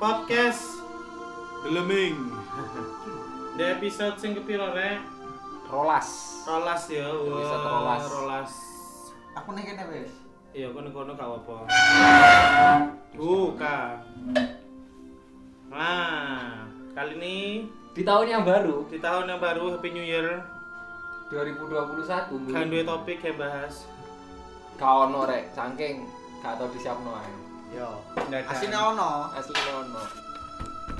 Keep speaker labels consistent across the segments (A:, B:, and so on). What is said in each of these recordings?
A: podcast
B: Deleming.
A: di episode sing kepiro rek?
C: Rolas.
A: Rolas ya. wah,
C: Episode rolas.
A: Rolas.
D: Aku nih kene wis.
A: Iya kono-kono gak apa-apa. Buka. Nah, kali ini
C: Di tahun yang baru,
A: di tahun yang baru Happy New Year
C: 2021.
A: kan dua topik yang bahas.
C: Kau ono rek, saking gak tau disiapno ae.
D: Yo.
A: Nggak ada.
D: Nah, Asine ono.
C: Asli ono.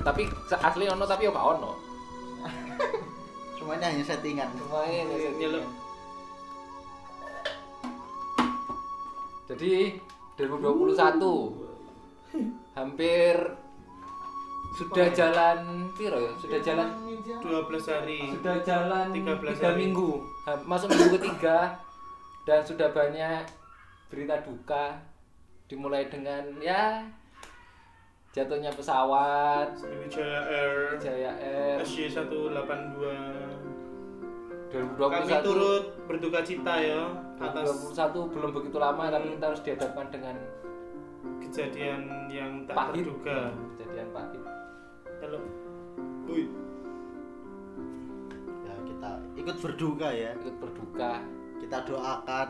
C: Tapi se- asli ono tapi yo gak ono.
D: Semuanya hanya settingan.
C: Lumayan
A: ya, settingan.
C: Jadi 2021 Uh. hampir sudah jalan piro ya? Sudah jalan
A: 12 hari.
C: sudah jalan
A: 13
C: tiga
A: hari.
C: minggu Ha- masuk minggu ketiga dan sudah banyak berita duka dimulai dengan ya jatuhnya pesawat
A: Sriwijaya Air
C: Jaya Air
A: SJ182. Kami
C: 2021
A: turut berduka cita ya atas
C: 2021 belum begitu lama tapi kita harus dihadapkan dengan
A: kejadian yang tak
C: pahit
A: terduga.
C: kejadian pahit
A: Halo. Wih.
D: Ya kita ikut berduka ya.
C: ikut berduka
D: Kita doakan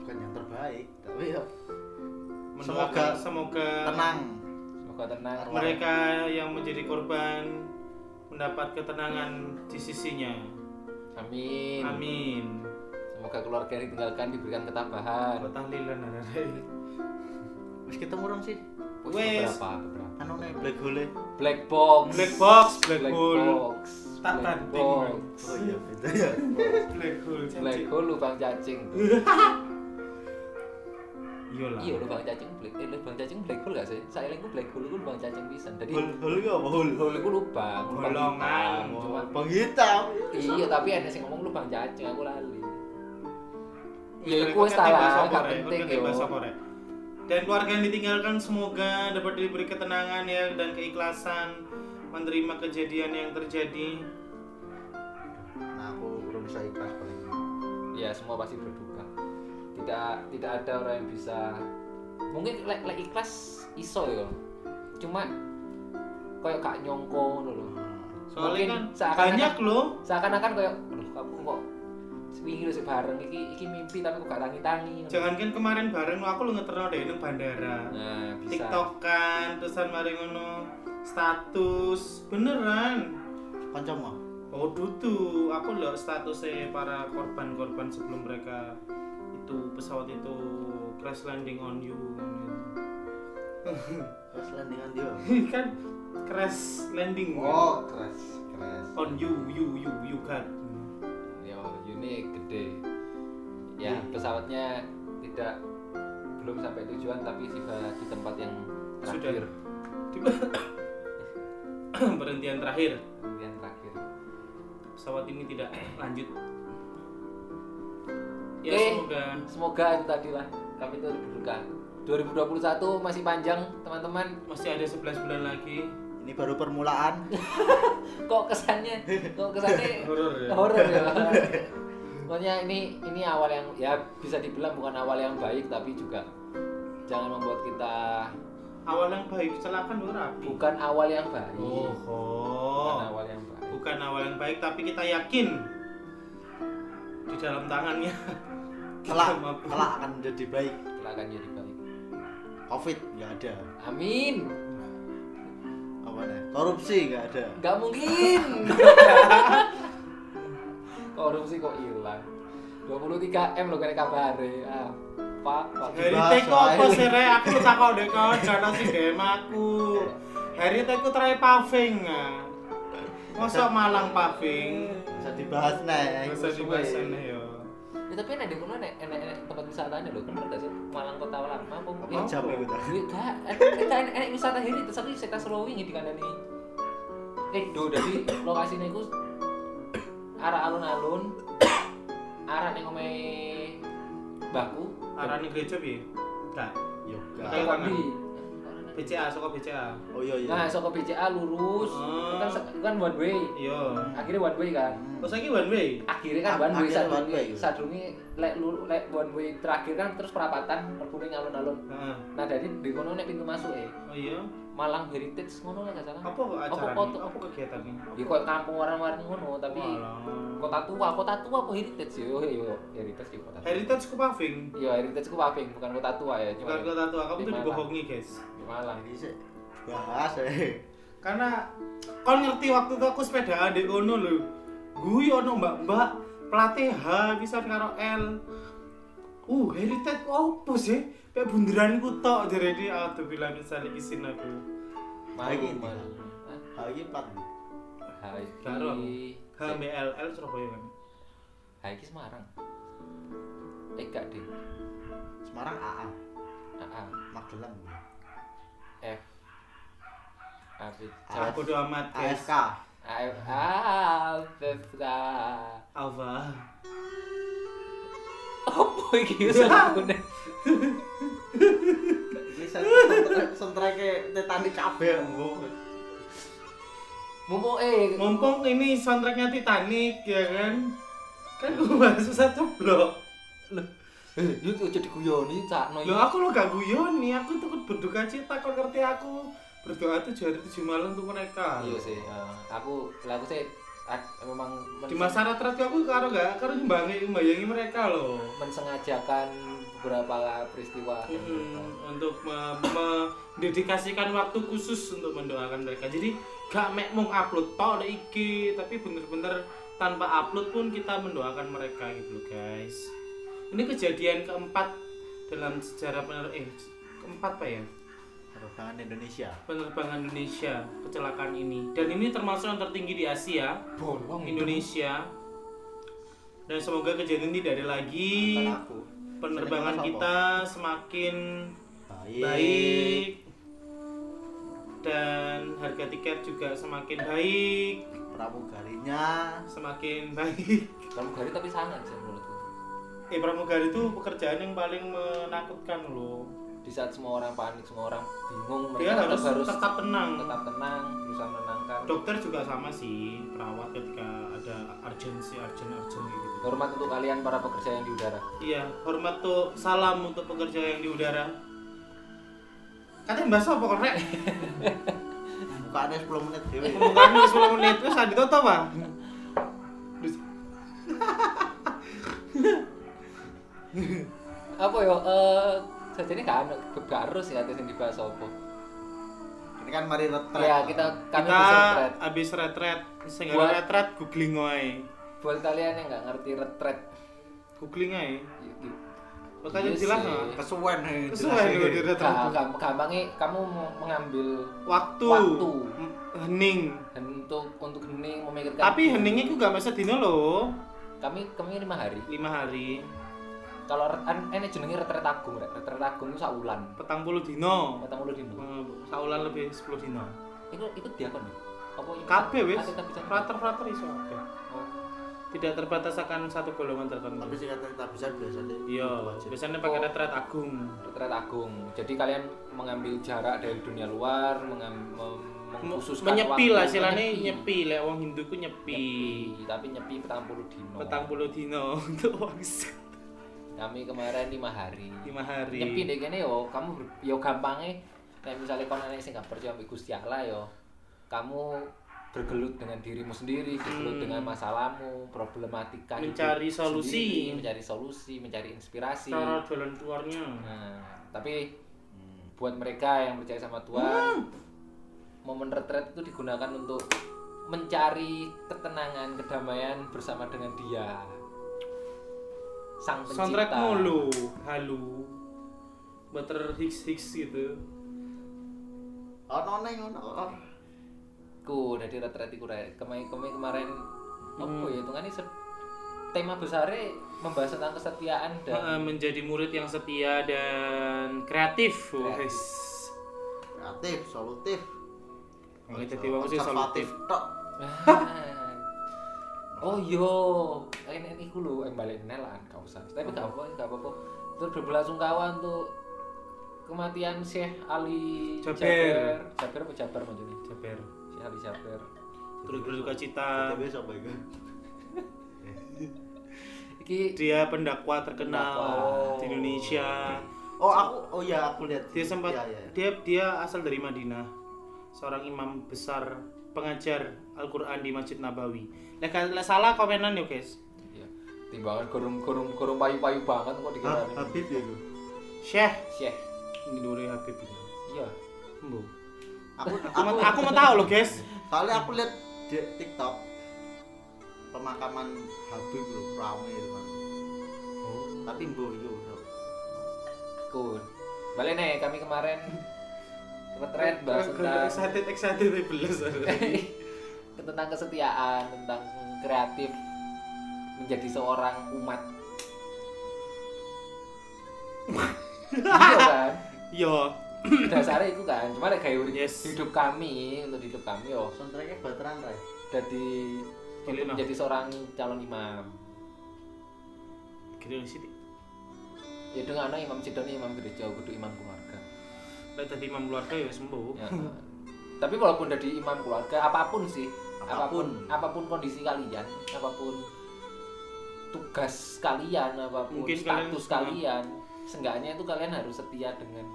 D: bukan yang terbaik, tapi ya
A: Semoga
D: Semoga-
A: semoga
D: tenang.
C: semoga tenang
A: mereka yang menjadi korban mendapat ketenangan di sisinya.
C: amin
A: Amin.
C: semoga keluarga yang ditinggalkan diberikan ketabahan
A: Buat tahlilan ada.
D: Wis ketemu rong sih.
C: Wis,
A: Wes.
C: beberapa beberapa
D: Anu nih black hole.
C: black box
A: Black box, black
C: Black
A: hole,
C: box,
A: Tak
C: black
A: tanding,
C: box,
D: Oh iya, beda ya.
A: black hole.
C: black
A: cacing.
C: hole lubang cacing.
A: Iya lah.
C: Iya lubang cacing black, eh lubang cacing black hole gak sih? Saya ku black hole ku lubang cacing pisan. Jadi
D: Hole hole itu apa hole?
C: hole ku lubang, lubang
A: Bolongan,
C: hitam. Cuma
D: Bang hitam.
C: iya tapi ada sing ngomong lubang cacing aku lali. Ya
A: Iya,
C: iku wis salah, gak penting yo.
A: Dan keluarga yang ditinggalkan semoga dapat diberi ketenangan ya dan keikhlasan menerima kejadian yang terjadi.
D: Nah, aku belum bisa ikhlas paling.
C: Ya semua pasti berduka. Tidak tidak ada orang yang bisa mungkin lek lek ikhlas iso yo. Cuma koyo gak nyongko ngono lho.
A: Soalnya
C: Mungkin
A: kan
C: seakan-akan-
A: banyak loh.
C: seakan-akan kayak aduh aku kok wingi wis bareng iki iki mimpi tapi kok gak tangi-tangi
A: Jangankan kemarin bareng aku lu ngeterno deh nang bandara.
C: nah bisa
A: Tiktokan, terusan mari ngono status beneran.
D: Kancamu.
A: Oh dudu, aku lihat statusnya para korban-korban sebelum mereka itu pesawat itu crash landing on you.
D: Terus landingan dia.
A: kan crash landing ya?
D: Oh, keras, keras.
A: on you you you you kan
C: ya ini gede ya
A: Hmm.
C: pesawatnya tidak belum sampai tujuan tapi tiba di tempat yang
A: Sudah.
C: terakhir
A: berhentian Hmm. terakhir
C: yang terakhir
A: pesawat ini tidak lanjut ya
C: Oke.
D: Eh.
A: semoga
C: semoga itu tadi lah kami itu berduka 2021 masih panjang teman-teman
A: masih ada 11 bulan lagi
D: Ini baru permulaan.
C: kok kesannya kok kesannya
A: horor ya
C: horor ya pokoknya ini ini awal yang ya bisa dibilang bukan awal yang baik tapi juga jangan membuat kita
A: awal yang baik kecelakaan lu rapi
C: bukan awal yang baik
A: oh, oh.
C: bukan awal yang baik
A: bukan awal yang baik tapi kita yakin di dalam tangannya kita
D: Kelak,
A: mampu.
D: kelak akan jadi baik.
C: Kita akan jadi baik
D: Covid nggak ada.
C: amin
D: Apa nih? Korupsi nggak ada.
C: nggak mungkin korupsi kok hilang 23 m lo kena kabar ya. apa kok
A: Hari
D: Dibahas,
A: teko apa
D: soalnya.
A: sih re? Aku lu takut deh kau jangan sih DM aku. Hari teko try paving ah. Mosok Malang paving.
D: Bisa dibahas
C: Eh,
D: nih.
A: Bisa dibahas aneh ya.
C: ya, tapi enak di mana enak enak tempat wisatanya lo kenapa nggak sih malang kota lama apa
D: Apa
C: mungkin
A: ya,
D: jam itu?
C: Enggak, Iya, Eh, kita enak enak wisata hari itu satu sektor Selawi di kandang ini. Eh, do dari lokasinya itu arah alun-alun, arah yang omai baku,
A: Arane gereja piye? Enggak.
D: Yoga.
A: Kayak
C: Kayak di.
A: BCA soko BCA.
D: Oh iya iya.
C: Nah, soko BCA lurus,
A: Oh.
C: kan se- kan one way.
A: Iya. Oh,
C: Akhirnya one way kan.
D: Hmm.
A: Terus iki one way.
C: Akhirnya kan
D: Ak-
C: one way
D: akhirnya one
C: sadurunge,
D: way. gitu.
C: sadurunge lek lur- lek one way terakhir kan terus perapatan mlebu ning alun-alun.
A: Heeh.
C: Nah, dari di kono nek pintu masuk eh.
A: Oh iya.
C: Malang Heritage ngono lah gak salah.
A: Apa kok acara
C: Apa
A: ini?
C: kok-
A: Apa kegiatan ini?
C: Ya kok kampung orang-orang ngono tapi
A: Walah.
C: kota tua, kota tua apa heritage ya? yo yo heritage yo kota. tua.
A: Heritage ku paving.
C: Yo heritage ku paving bukan kota tua ya cuma
A: Bukan kota tua, kamu tuh
C: Di Malang.
A: dibohongi guys.
C: di Malang.
D: Jadi sih bahas eh.
A: Karena kon ngerti waktu itu aku sepedaan di kono lho. Gue ono mbak-mbak pelatih H bisa karo L. Uh, heritage opo sih? Kayak bunderan ku tok jadi aduh bila misalnya isin aku.
C: Malu
D: Lagi.
C: malu.
D: Hal ini empat.
C: Hah,
A: Karo.
C: iki-
A: HMLL Surabaya kan.
C: Hah, iki Semarang. Eh gak deh.
D: Semarang AA,
C: AA
D: Magelang,
C: F Apa?
A: Ah,
D: AF.
A: bodo amat guys.
D: AFK,
C: F A F K.
A: Apa?
C: Apa
A: Ya.
C: iki sakune?
D: ini sentrake Titanic kabeh mbo.
C: Mumpung eh
A: Mumpung ini soundtracknya Titanic ya kan. Kan gue bahas susah ceblok.
C: Eh, yo tuh jadi guyoni cakno iki.
A: Loh aku lo gak guyoni, aku tuh berduka cita kau ngerti aku berdoa tujuh hari tujuh malam untuk mereka.
C: Iya sih. eh, aku lagu sih ak- memang
A: Di masa
C: mensen-
A: retret aku karo gak karo nyembangi membayangi mereka loh.
C: mensengajakan beberapa peristiwa.
A: Mm-mm, untuk me- mendedikasikan waktu khusus untuk mendoakan mereka. Jadi gak mek mung upload tok di IG, tapi bener-bener tanpa upload pun kita mendoakan mereka gitu loh, guys. Ini kejadian keempat dalam sejarah pener eh keempat apa ya?
D: Penerbangan Indonesia.
A: penerbangan Indonesia kecelakaan ini dan ini termasuk yang tertinggi di Asia
C: Bolong
A: Indonesia dan semoga kejadian ini tidak ada lagi
D: Bukan aku.
A: penerbangan
D: Seneng
A: kita semakin
C: Iya.
D: Baik.
A: baik dan harga tiket juga semakin baik
D: Pramugarinya
A: semakin baik
C: Pramugari tapi sangat sih menurutku.
A: eh pramugari itu pekerjaan yang paling menakutkan loh
C: Di saat semua orang panik, semua orang bingung,
A: dia
C: mereka
A: harus
C: tetap harus
A: tetap tenang
C: tetap tenang, berusaha menenangkan.
A: dokter juga sama sih perawat ketika ada urgensi urgent urgent gitu
C: Hormat untuk kalian para pekerja yang di udara.
A: Iya, hormat tuh salam untuk pekerja yang di udara. Katanya mbak apa korek?
D: bukaannya 10 menit dewe.
A: Pembukaan wis 10 menit terus ada ditutup, Pak.
C: Apa yo? Eh, sajane gak ana gak harus ya atas yang dibahas apa.
D: Ini kan mari retret.
C: Ya, kita kami
A: Iya, Kita
C: bisa retret.
A: habis retret, sing
C: Buat-
A: retret googling wae.
C: Buat kalian yang nggak ngerti retret,
A: Googling ae.
C: y- y-
A: Makanya
C: Iya
A: jelas
C: sih.
A: ah.
D: kesuwen eh,
A: Kesuwen
D: jelas,
A: lho
D: eh.
A: di retret.
C: gam- Nah, gam- gampangnya kamu mau mengambil
A: Waktu.
C: Waktu.
A: M- Hening.
C: untuk untuk hening memikirkan.
A: Tapi heningnya ku gak masa dino lho.
C: kami kami lima hari.
A: 5 hari,
C: Kalau ret- an- ini jenenge retret agung, Rek. retret agung itu saulan.
A: petang puluh dino.
C: Ketemu lu di Indo.
A: Eh, Saulan lebih 10 dino.
C: Itu itu diakon ya? Apa ini?
A: Kabeh wis.
C: Atlet tapi jangan.
A: Frater-frater iso kabeh.
C: Oh.
A: Tidak terbatas akan satu golongan tertentu.
D: Tapi sih kata kita bisa biasanya.
A: Iya,
D: Wajib.
A: biasanya
C: Oh.
A: pakai retret agung.
C: Retret agung. Jadi kalian mengambil jarak dari dunia luar, mengam, mem, mengkhususkan
A: menyepi
C: waktu,
A: lah istilahnya
C: menyepi.
A: nyepi lek wong Hindu ku nyepi.
C: Nyepi, tapi nyepi petang puluh dino.
A: Petang puluh dino untuk wong Islam.
C: Kami kemarin lima hari.
A: lima hari.
C: Nyepi deh kene yo, kamu ber- yo gampangnya kayak misalnya kau nanya sih nggak percaya ambil Gusti Allah yo, kamu bergelut dengan dirimu sendiri, bergelut
A: Hmm.
C: dengan masalahmu, problematika hidup
A: Mencari solusi.
C: sendiri, mencari solusi, mencari inspirasi.
A: Cara jalan keluarnya.
C: Nah, tapi buat mereka yang percaya sama Tuhan,
A: Hmm.
C: momen retret itu digunakan untuk mencari ketenangan, kedamaian bersama dengan Dia. Sang pencipta.
A: Soundtrack mulu, halu. Butter hicks hicks gitu.
D: Ono Oh, neng ono. ono.
C: Ku dari retret iku rek. Kemarin kemarin kemarin apa ya hitungannya se- tema besarnya membahas tentang kesetiaan dan
A: Eh, Menjadi murid yang setia dan kreatif. Wes.
D: Kreatif, solutif.
A: Oke, jadi wong sih
D: Konservatif,
A: solutif.
D: tok.
C: Oh yo, ini iku lho yang balik nelan gak usah. Tapi gak apa gak apa-apa. Terus berbelasungkawa untuk kematian Syekh Ali
A: Jaber.
C: Jaber apa Jabar maksudnya?
A: Jabar.
C: Syekh Ali Jaber.
A: Turut berduka cita.
D: Tapi sapa iku?
C: Iki
A: Dia pendakwa terkenal
C: Pendakwa.
A: di Indonesia.
D: Oh, aku oh iya aku lihat.
A: Dia sempat
D: Iya, iya.
A: dia dia asal dari Madinah. seorang imam besar pengajar Al-Qur'an di Masjid Nabawi. Lek lek salah komenan yo, guys.
C: Iya. Timbangan kurung-kurung kurung payu-payu banget kok dikira.
D: Ha-
C: ini.
D: Habib ya lu.
A: Syekh
C: Syekh.
A: ini dure Habib.
C: Iya.
A: Mbo.
D: Aku
A: Aku men- aku mau tahu loh, guys.
D: Soalnya aku lihat di TikTok pemakaman Habib lho rame itu kan. Tapi mbuh yo.
C: Cool. Balik nih kami kemarin retret bahas
A: Gara-gara
C: tentang
A: excited excited belas.
C: tentang kesetiaan, tentang kreatif menjadi seorang umat. iya kan?
A: Yo,
C: Dasarnya itu kan, cuma ada gaya urip
A: Yes.
C: hidup kami, untuk hidup kami yo
D: Soundtracknya bateran Ray.
C: jadi untuk
A: Gilino.
C: menjadi seorang calon imam.
A: gede sih.
C: Ya dengan imam sidone imam gereja kudu imam keluarga.
A: Lek tadi imam keluarga ya sembuh.
C: Ya. Tapi walaupun dari imam keluarga apapun sih, apapun
D: Apapun.
C: apapun kondisi kalian, apapun tugas kalian, apapun
A: Mungkin kalian
C: status
A: semua-
C: kalian, seenggaknya itu kalian harus setia dengan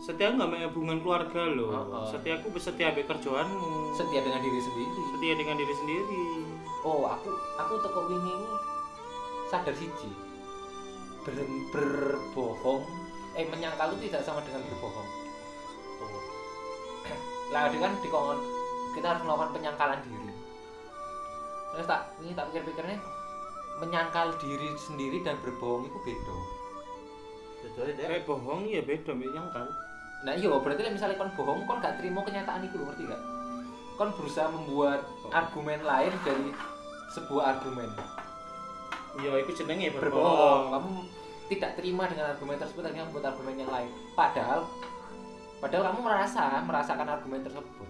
A: Setia nggak sama hubungan keluarga loh.
C: Oh, oh.
A: Setia aku bersetia be kerjaanmu.
C: setia dengan diri sendiri.
A: Setia dengan diri sendiri.
C: Oh, aku aku teko wingi ini sadar siji. Ber- berbohong eh menyangkal itu tidak sama dengan berbohong.
D: Oh.
C: lah dia kan dikongkon kita harus melakukan penyangkalan diri terus tak ini tak pikir-pikirnya menyangkal diri sendiri dan berbohong itu beda
D: Jadwalnya deh.
A: Lek bohong ya beda mbek nyangkal.
C: nah iya berarti lah misalnya kon bohong kon gak terima kenyataan itu ngerti gak kon berusaha membuat argumen lain dari sebuah argumen
A: Ya iku jenenge
C: berbohong
A: berbohong.
C: kamu tidak terima dengan argumen tersebut akhirnya membuat argumen yang lain padahal padahal kamu merasa merasakan argumen tersebut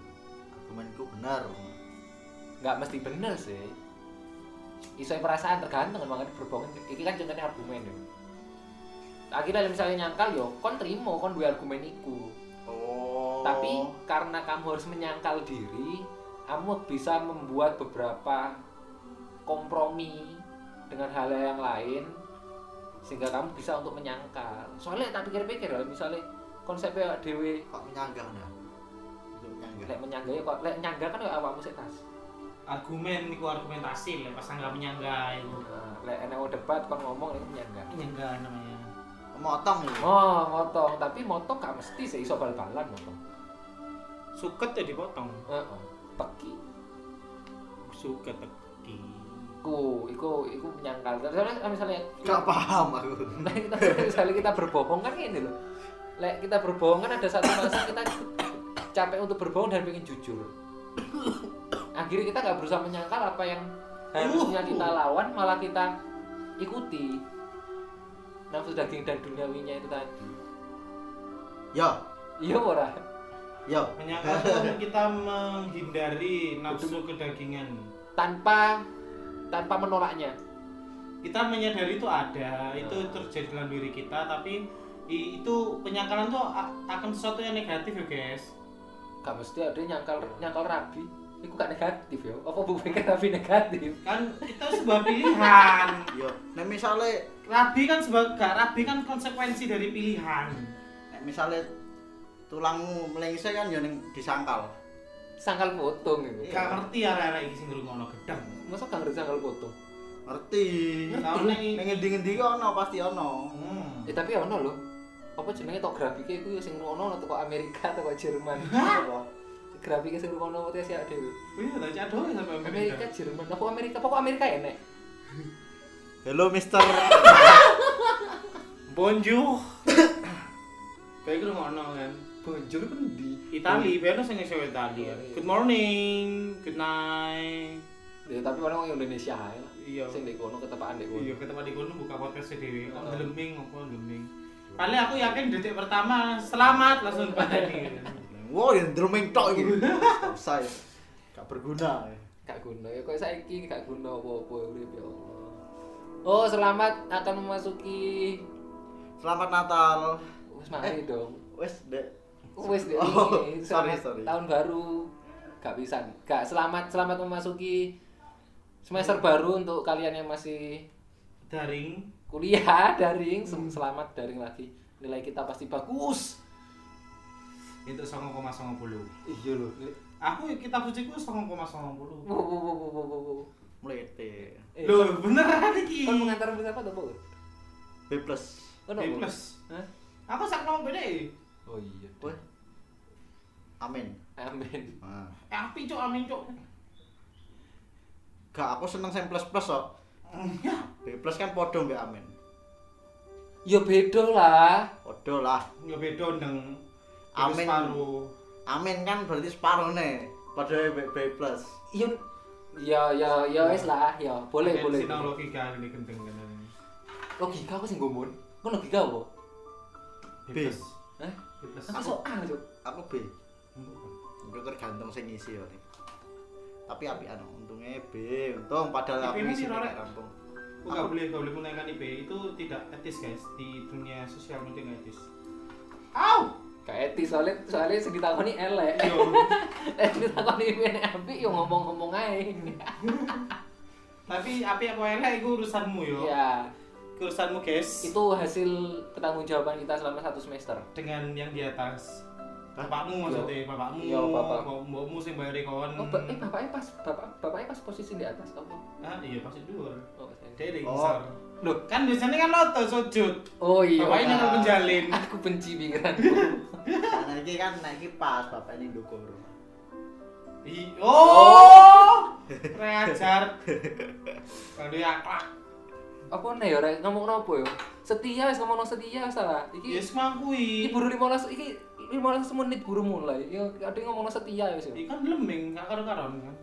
D: Argumenku benar.
C: nggak mesti bener sih iso perasaan tergantung makanya berbohong iki kan contohnya argumen ya akhirnya misalnya nyangkal yo kon terima kon dua argumen iku
D: Oh.
C: tapi karena kamu harus menyangkal diri kamu bisa membuat beberapa kompromi dengan hal yang lain sehingga kamu bisa untuk menyangkal soalnya tak pikir-pikir ya, misalnya konsepnya awak dewe
D: kok menyanggah nah. Untuk menyanggah.
C: lek menyanggah ya kok lek nyanggah kan ya awakmu sik tas
A: Argumen iku argumentasi lek pas nggak menyangga iku.
C: Nah, lek enek wong debat kon ngomong lek menyanggah
A: Menyangga namanya.
D: Motong ya.
C: Oh, motong, tapi motong gak mesti sih iso bal-balan motong.
A: Suket ya dipotong.
C: Heeh. Teki
A: Suket teki.
C: ku iku iku menyangkal. Misalnya misalnya
D: Gak paham aku.
C: nah, kita misalnya kita berbohong kan ini loh. Lek kita berbohong kan ada satu masa kita capek untuk berbohong dan pengen jujur. Akhirnya kita nggak berusaha menyangkal apa yang harusnya kita lawan malah kita ikuti nafsu daging dan duniawinya itu tadi.
D: Yo,
C: Iya ora.
D: yo.
A: Menyangka itu kita menghindari nafsu kedagingan.
C: Tanpa tanpa menolaknya.
A: kita menyadari itu ada itu terjadi dalam diri kita tapi i- itu penyangkalan tuh a- akan sesuatu yang negatif ya guys
C: gak mesti ada yang nyangkal nyangkal rabi itu gak negatif ya apa bu pikir rabi negatif
A: kan itu sebuah pilihan
D: Yo. Iya. Nek misale
A: rabi kan sebuah gak rabi kan konsekuensi dari pilihan
D: nek misale tulangmu melengsek kan yo ning disangkal.
C: sangkal potong itu
A: gak ngerti ya arek-arek iki sing ngrungokno gedang
C: masa gak ngerti sangkal potong
D: Ngerti.
A: tahun
D: Ning
A: ini
D: ngendi-ngendi ki ono pasti ono.
A: Hmm.
C: eh tapi ono loh apa jenenge tok grafike iku ya sing ono teko Amerika teko Jerman apa grafike sing ono teko sih dhewe
A: Wih, tak cado ya sampai
C: Amerika
A: Amerika.
C: Jerman apa Amerika pokok Amerika enek
D: Hello Mister.
A: Bonjour. Kayak gitu ngono kan. Iya.
C: bonjour pendi
A: Itali, biar sing iso Itali. ya. Good morning, good night.
C: ya tapi orang yang Indonesia ae lah
A: Iya.
C: sing ndek kono ketepaan ndek kono
A: Iya, ketemu di kono buka podcast dhewe. Kok
C: Heeh.
A: deleming apa deleming. Kali aku yakin detik pertama selamat
C: Iya.
A: langsung pateni.
D: Wow, yang drumming ya tok iki. Selesai. Gak berguna.
C: gak guna ya kok saiki gak guna apa-apa urip ya Allah oh selamat akan memasuki
D: Selamat Natal.
C: wis mari dong
D: Wes, Dek.
C: wis deh
D: Oh,
C: ini.
D: sorry,
C: Selamat
D: sorry.
C: tahun baru gak bisa gak selamat selamat memasuki semester baru untuk kalian yang masih
A: Daring.
C: kuliah daring Sem- selamat daring lagi nilai kita pasti bagus
A: itu 9,90.
D: iya lho Nek.
A: Aku kitab suciku 9,90.
C: Wo wo wo wo wo wo, wo.
D: melete
C: Eh,
A: Loh, beneran iki.
C: Kon mengantar bus apa to, Bu?
D: B plus
C: Ono
A: B
C: Bu?
A: plus.
C: Hah?
A: Aku sak eh, nomor beda.
C: Oh iya.
D: Weh. amin
C: Amin.
D: nah.
A: Eh, api cok, amin cok.
D: gak aku seneng sing plus plus kok
A: Iya,
D: B plus kan podo mbak amin
C: Ya beda lah.
D: podo lah
A: Ya beda ndeng.
D: Amin.
A: Paru.
D: amin kan berarti separuh nih padahal B, B plus
C: Iya. Ya ya ya wis lah, ya boleh boleh.
A: Sinau logika kan, ini gendeng gendeng.
C: Logika aku sing gombon. Kon logika apa?
A: B
D: B.
A: plus.
C: Hah?
A: B plus.
C: Aku sok ah, Cuk.
D: aku B itu tergantung sing ngisi ya Nek. tapi api anu untungnya B untung padahal aku
A: IP-nya
D: ngisi
A: sih,
D: nek
A: Rorek.
D: rampung
A: Aku nggak boleh nggak boleh menaikkan IP itu tidak etis guys di dunia sosial media nggak etis. Au.
C: Kayak etis soalnya soalnya sing ditakoni elek.
A: Yo.
C: Eh sing ditakoni piye apik yo ngomong-ngomong ae.
A: Tapi api apa enak itu urusanmu yo.
C: Iya.
A: Itu Urusanmu guys.
C: Itu hasil pertanggungjawaban kita selama satu semester.
A: Dengan yang di atas.
D: Hah?
A: Bapakmu maksudnya, bapakmu,
C: Iya, bapak.
A: mbok- mbokmu sing bayari kon.
C: Oh, ba- eh bapaknya pas bapak bapaknya pas posisi di atas apa?
A: Ah, iya pasti dhuwur.
C: Oh, pas ini.
A: Dede
D: Oh.
A: ngisor.
C: Loh.
A: kan biasanya kan loto sujud.
C: Oh iya.
A: Bapaknya
D: Pak.
A: nyekel penjalin.
C: Aku benci pikiranku.
D: karena ini kan nek iki pas bapak ini dukur
A: I- Oh. Reajar. Kalau dia akhlak.
C: apa nih ya Rek? ngomong apa ya setia wis ngomong setia salah iki
A: Yes mangkui.
C: iki buru 15 iki 15 menit buru mulai ya ada yang ngomong setia wis ya
A: Ini kan lemeng, gak karu-karuan kan.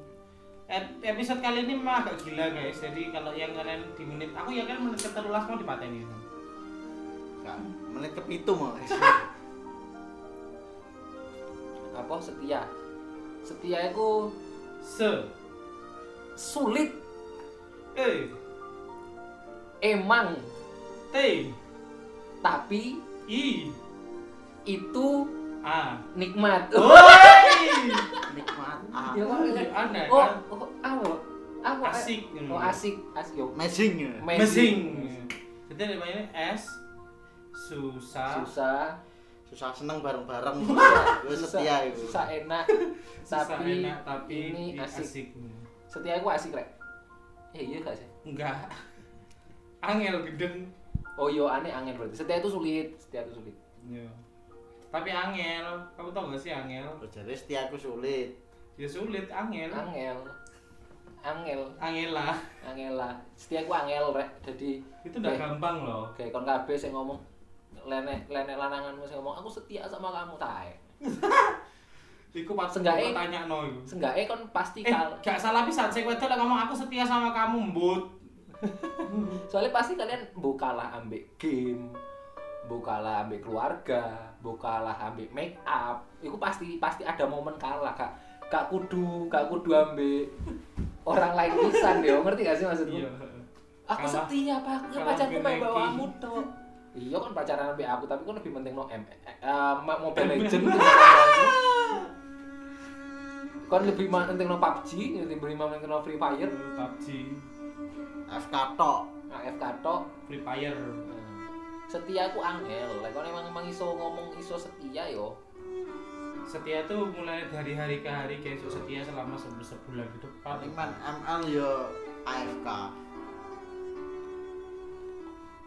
A: Ep- Episode kali ini mah agak gila guys. Jadi kalau yang kalian di menit, aku yakin menit ke terulas mau dipateni.
D: kan menit ke pitu mau
C: apa setia setia itu
A: Se.
C: sulit
A: E.
C: emang
A: T.
C: tapi
A: I.
C: itu
A: A.
C: nikmat
A: Oh. Oi.
D: nikmat ah
C: ya kok
A: Iya, aneh
C: oh
A: kan?
C: oh apa apa
A: Asik.
C: oh asik asik yo
D: amazing ya
A: Mesing. Jadi ada namanya S. Susah.
C: susah
D: susah seneng bareng-bareng gue
C: susah
D: setia itu
C: susah enak
A: susah
C: tapi
A: enak, tapi
C: ini
A: ini asik.
C: asik setia aku asik rek eh iya gak sih
A: Enggak. Angel gedeng.
C: Oh iya, aneh angin berarti. Setia itu sulit, setia itu sulit.
A: Iya. Tapi angel, kamu tau gak sih angel?
D: jadi setia aku sulit
A: Ya sulit angel.
C: Angel, angel,
A: Angela.
C: angel lah. Setia aku angel rek. Jadi
A: Itu udah
C: Oke.
A: gampang loh.
C: kayak kon kabeh sing ngomong lenek lenek lananganmu sing ngomong aku setia sama kamu tae.
A: Iku pas
C: Seenggaknya-
A: tanya no iku.
C: Seenggaknya kon pasti
A: Eh,
C: kal
A: gak salah pisan sing wedok lek ngomong aku setia sama kamu, Mbut.
C: soalnya pasti kalian bukalah ambek game, bukalah ambek keluarga, bukalah ambek make up. Iku pasti pasti ada momen kalah kak. Kak kudu, kak kudu ambek orang lain pisan yo. Ngerti gak sih maksudku?
A: Iya.
C: aku
A: Kalah.
C: setia pak ya
A: Kalah
C: pacarku
A: Ben
C: main
A: Reki.
C: bawamu tuh iya kan pacaran sama aku tapi kan lebih penting no M eh, eh, ma- Mobile Legend tuh kan lebih ma- penting no PUBG lebih penting no Free Fire
A: PUBG,
D: FK tok
C: AFK tok
A: Free Fire.
C: setia aku angel lek kon emang emang iso ngomong iso setia yo
A: Setia tuh mulai dari hari ke hari guys, setia selama sebu- sebulan gitu. ke depan.
D: paling man ML yo AFK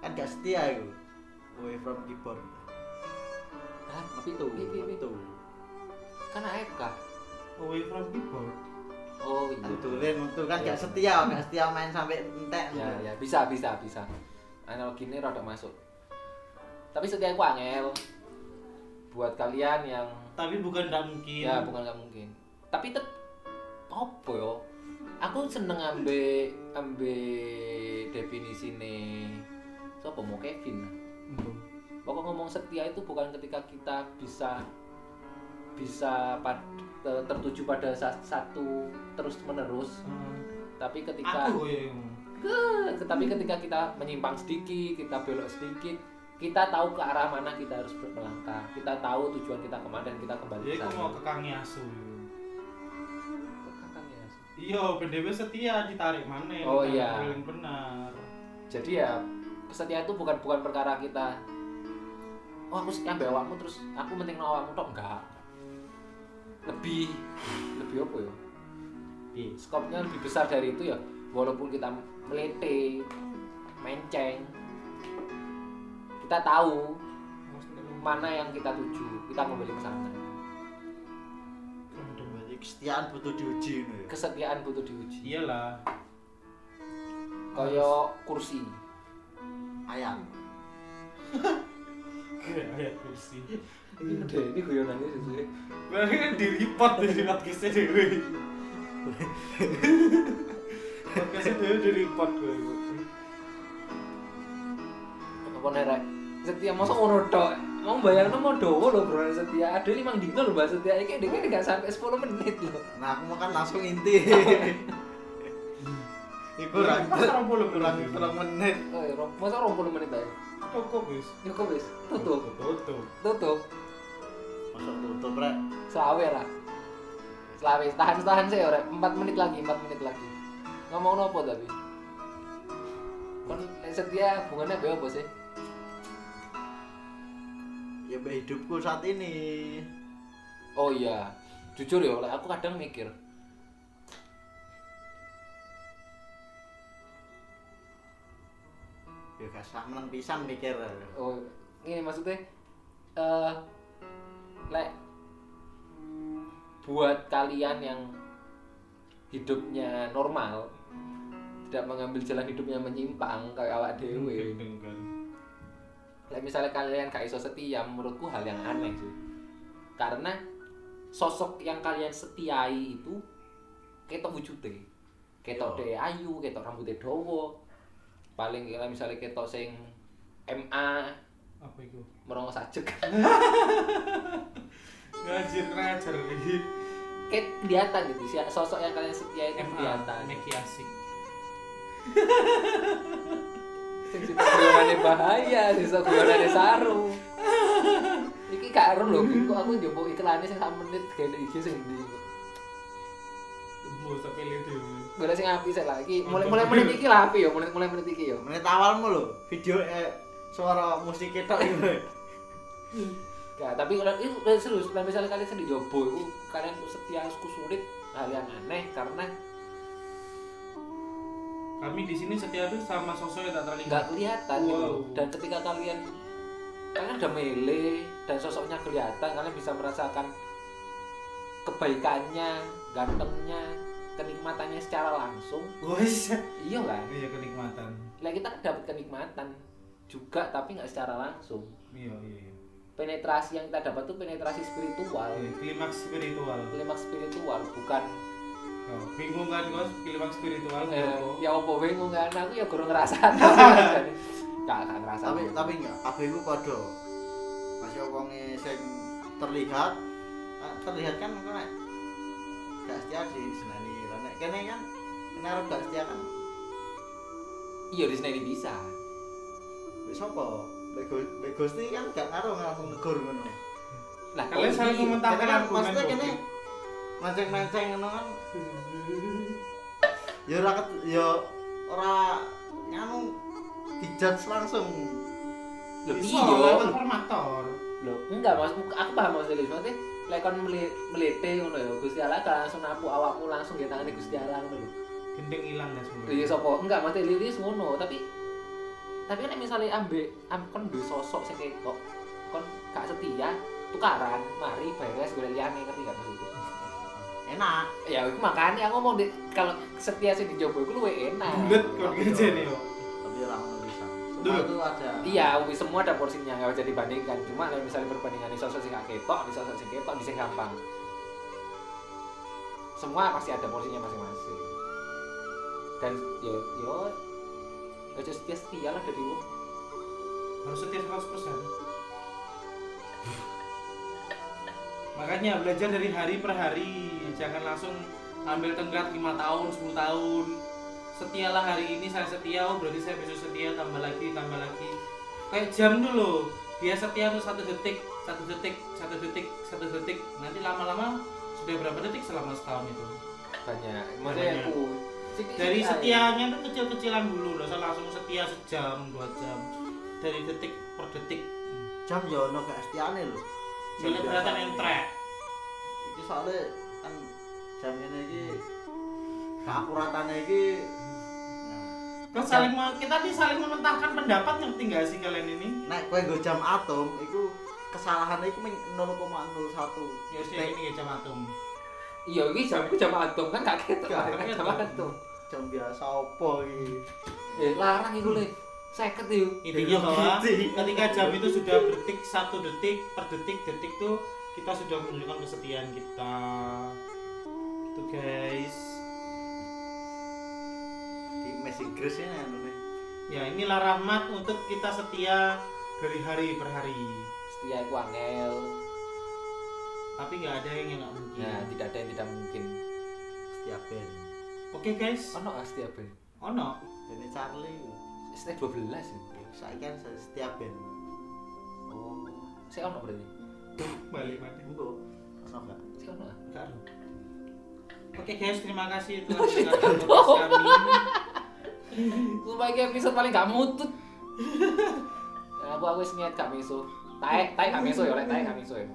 D: kan gak setia itu away from keyboard
C: Hah?
D: metu
C: Pi- pi- pi- pi.
D: metu
C: kan AFK
A: Away from people.
C: oh iya
D: Antulin metu kan
C: Iya.
D: gak setia gak setia main sampai entek
C: ya ya bisa bisa bisa analogi ini rada masuk tapi setia aku angel buat kalian yang
A: Tapi bukan tidak mungkin.
C: Ya bukan nggak mungkin. Tapi tetep apa yo? Aku seneng ambe ambe definisi nih. Siapa mau Kevin?
A: Mbut.
C: Pokok ngomong setia itu bukan ketika kita bisa bisa pad- ter- tertuju pada sa- satu terus menerus,
A: Hmm.
C: tapi ketika
A: Aku ya yang
C: tapi ketika kita menyimpang sedikit, kita belok sedikit, kita tahu ke arah mana kita harus ber- melangkah, kita tahu tujuan kita kemana dan kita kembali
A: Jadi
C: ke
A: aku
C: sana.
A: Ya, mau ke Kang Yasu.
C: Kakaknya.
A: Iya, BDW setia ditarik mana?
C: Oh, iya.
A: Yang benar.
C: jadi ya kesetiaan itu bukan bukan perkara kita oh aku setia mbak awakmu terus aku penting no awakmu tok enggak lebih lebih apa ya
A: Iya.
C: skopnya lebih besar dari itu ya walaupun kita melete menceng kita tahu mana yang kita tuju kita kembali ke sana
D: Berarti kesetiaan butuh diuji ngono ya.
C: kesetiaan butuh
A: Iya.
C: diuji
A: Iyalah.
C: koyo kursi
D: Ayam.
A: Kayak kursi.
C: ini deh ini guyonannya sesuai
A: Berarti kan di report dari podcastnya dewe. podcastnya dewe di report gue. Bu.
C: apa nih rek setia masa ono tok mau bayangno mau dowo lho bro setia ada lima dino lho mbak setia iki dek gak sampai 10 menit lho
D: Nah, aku makan langsung inti. Iku kurang
A: Iya, Pas orang puluh
D: kurang
A: menit.
D: kurang menit.
C: oh ya Rob, masa 20 menit aja
A: Cukup wis.
C: ya kok wis tutup
A: Tutup.
C: tutup
D: Masuk tutup rek.
C: selawe lah selawe tahan tahan sih rek 4 menit lagi 4 menit lagi ngomong nopo tapi kon lek setia hubungannya gue apa sih
D: Ya mbak hidupku saat ini.
C: oh iya jujur ya lek aku kadang mikir
D: Ya gak sah menang pisan mikir.
C: Oh, ini maksudnya eh lek buat kalian yang hidupnya normal tidak mengambil jalan hidupnya menyimpang kayak awak dewe
A: Dengan
C: lek misalnya kalian gak iso setia menurutku hal yang aneh sih karena sosok yang kalian setiai itu ketok wujudnya ketok
D: Iya.
C: de ayu ketok rambutnya dawa paling kira misalnya ketok sing MA
A: apa itu?
C: merongos ajek
A: Ngajar ngajar lagi.
C: kayak kelihatan gitu sih sosok yang kalian setia itu kelihatan
A: Meki asik.
C: sing situ guyonane bahaya sing situ guyonane sarung iki gak ero lho kok aku njopo iklane sing sak menit gene iki sing ndi
A: Mau sampai itu.
C: Boleh sing api sik lah iki mulai mulai menit iki lah api yo mulai mulai menit iki yo
D: Menit awalmu lho, video eh suara musik kita itu.
C: Gak, tapi kalau itu eh, serius, kalau misalnya kalian sendiri jobo itu kalian tuh setia aku sulit hal yang aneh karena
A: Kami di sini setiap hari sama sosok yang tak
C: nggak
A: terlihat.
C: kelihatan gitu
A: Wow.
C: loh. dan ketika kalian kalian udah mele dan sosoknya kelihatan kalian bisa merasakan kebaikannya gantengnya kenikmatannya secara langsung
A: Wes.
C: iya kan
A: Iya kenikmatan.
C: lah kita dapat kenikmatan juga tapi nggak secara langsung
A: Iya iya. iya.
C: penetrasi yang kita dapat tuh penetrasi spiritual
A: Iya, Klimaks spiritual.
C: klimaks spiritual bukan
A: Oh, Bingung kan kau klimaks spiritual?
C: eh,
A: kok.
C: ya apa bingung kan aku ya kurang ngerasa nggak nggak ngerasa
D: tapi tapi enggak kabeh ku padha masih wonge sing terlihat eh, terlihat kan kok nek gak setia di senani Lah nek kene kan kene arep gak setia kan
C: iya di sini bisa
D: wis sapa Mek Gu- Mek Gusti kan gak ngaruh langsung negur ngono
C: lah
A: Kalian saling
C: Nah, ini-
A: komentarkan
D: Kene kan
A: argumen,
D: maksudnya
A: Bung.
D: kene mancing-mancing ngono kan ya ora ket- ya ora nganu dijudge langsung
C: Loh,
A: Bisa,
C: iya.
A: lawan formator.
C: Loh, enggak mas, aku paham maksudnya Gus. Maksudnya, lek kon meli- melete ngono ya, Gusti Allah kan langsung napu awakmu langsung ya tangane Gusti Allah ngono lho.
A: Gendeng hilang dan
C: Lho, Iya sapa? Enggak, maksudnya liris ngono, tapi tapi nek misalnya ambek am kon duwe sosok sing kok kon gak setia tukaran, mari beres golek liyane ngerti gak maksudku?
D: enak
C: Ya iku makanya aku ngomong Dek, kalau setia sing dijobo iku luwe enak.
A: Bulet kok kerja nih yo.
D: tapi ora ngono bisa
A: Dulu.
D: Semua itu ada
C: Iya, wis semua ada porsinya, nggak bisa dibandingkan. Cuma kalau misalnya perbandingan di sosok sing gak ketok, di sosok sing ketok, di sing gampang. Semua pasti ada porsinya masing-masing. Dan yo yo aja setia setia lah dari wong.
A: Harus setia 100 Makanya belajar dari hari per hari. Jangan langsung ambil tenggat 5 tahun, 10 tahun. Setialah hari ini saya setia, oh berarti saya besok setia, tambah lagi, tambah lagi. Kayak jam dulu, dia setia tuh satu detik, satu detik, satu detik, satu detik. Nanti lama-lama sudah berapa detik selama setahun itu?
C: banyak. Maksudnya
A: Banyak.
C: aku
A: dari setianya tuh kecil-kecilan dulu loh saya langsung setia sejam dua jam dari detik per detik
D: jam ya ono gak setiane lho
A: milik beratan yang track
D: Iki iki soalnya kan jam ini iki keakuratannya iki
A: Terus saling me- kita nih saling mementahkan pendapat ngerti nggak sih kalian ini?
D: nah, nek kowe nggo jam atom iku kesalahan iku ming 0,01
A: Ya sih ini ya jam atom.
C: iya ini jamku jam atom kan gak ketok
D: Gak
C: kan jam
A: ketok.
C: atom
D: jam biasa opo iki
C: eh larang iku le 50 yo
A: Intinya bahwa
D: Gitu.
A: ketika jam itu sudah berdetik satu detik per detik detik tuh kita sudah menunjukkan kesetiaan kita. Itu guys.
D: di mes Inggris ini anu nih
A: Ya inilah rahmat untuk kita setia dari hari per hari.
C: setia iku angel
A: Tapi nggak ada yang nggak mungkin.
C: nah tidak ada yang tidak mungkin
D: setiap band
A: Oke guys.
C: ono ah setia ben
A: Oh no.
D: Bene Charlie
C: setia 12 ya.
D: saya kan setiap band
C: oh saya ono berarti
A: Balik mati.
D: Mbok ono gak
C: saya ono ah.
A: Nggak ada. Oke guys, terima kasih telah mendengarkan podcast kami.
C: Sumpah ini episode paling gak mutut. Nah, aku aku wis niat gak meso. Taek, taek gak meso ya, lek taek gak meso ya.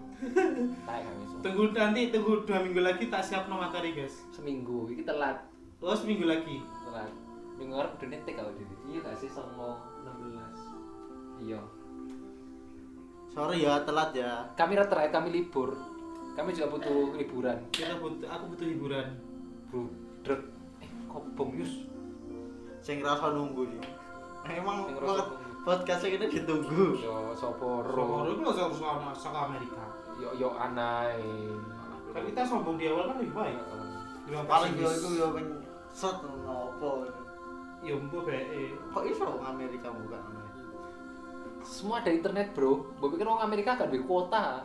C: Taek gak meso.
A: Tunggu nanti tunggu dua minggu lagi tak siap no materi guys.
C: Seminggu iki telat,
A: Oh seminggu lagi.
C: telat. Minggu arep dene tek kok jadi. Iya gak sih songo 16. Iya.
D: sorry ya telat ya
C: Kami ra terakhir kami libur. Kami juga butuh liburan.
A: Kita butuh aku butuh hiburan.
C: Bro, drek. Eh, kobong yus.
D: sing ngerasa nunggu nih emang
C: Sing ngerasa
D: pod-
C: nunggu.
D: podcast ini ditunggu
C: Yo
A: Sombong
C: soporo.
A: itu harus harus sama sama Amerika.
C: Yo yo anai.
A: Kan kita sombong di awal kan lebih baik. Di
D: paling yo iku yo ping set opo
A: yo mbo bae.
D: kok iso wong Amerika bukan Amerika
C: Semua ada internet, Bro. Mbok pikir orang Amerika gak duwe kuota.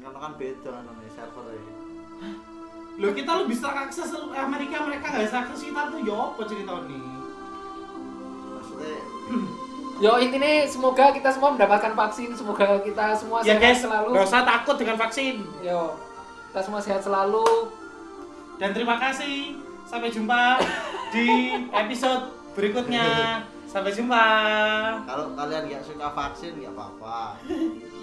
D: kan kan beda anu nih server ini
A: Lo kita lebih serak akses eh, Amerika mereka nggak bisa akses kita tuh yo apa cerita nih?
D: maksudnya
C: Yo intinya semoga kita semua mendapatkan vaksin, semoga kita semua
A: Ya
C: sehat
A: guys
C: selalu.
A: nggak usah takut dengan vaksin.
C: Yo kita semua sehat selalu.
A: Dan terima kasih. Sampai jumpa di episode berikutnya. Sampai jumpa.
D: kalau kalian nggak suka vaksin nggak apa-apa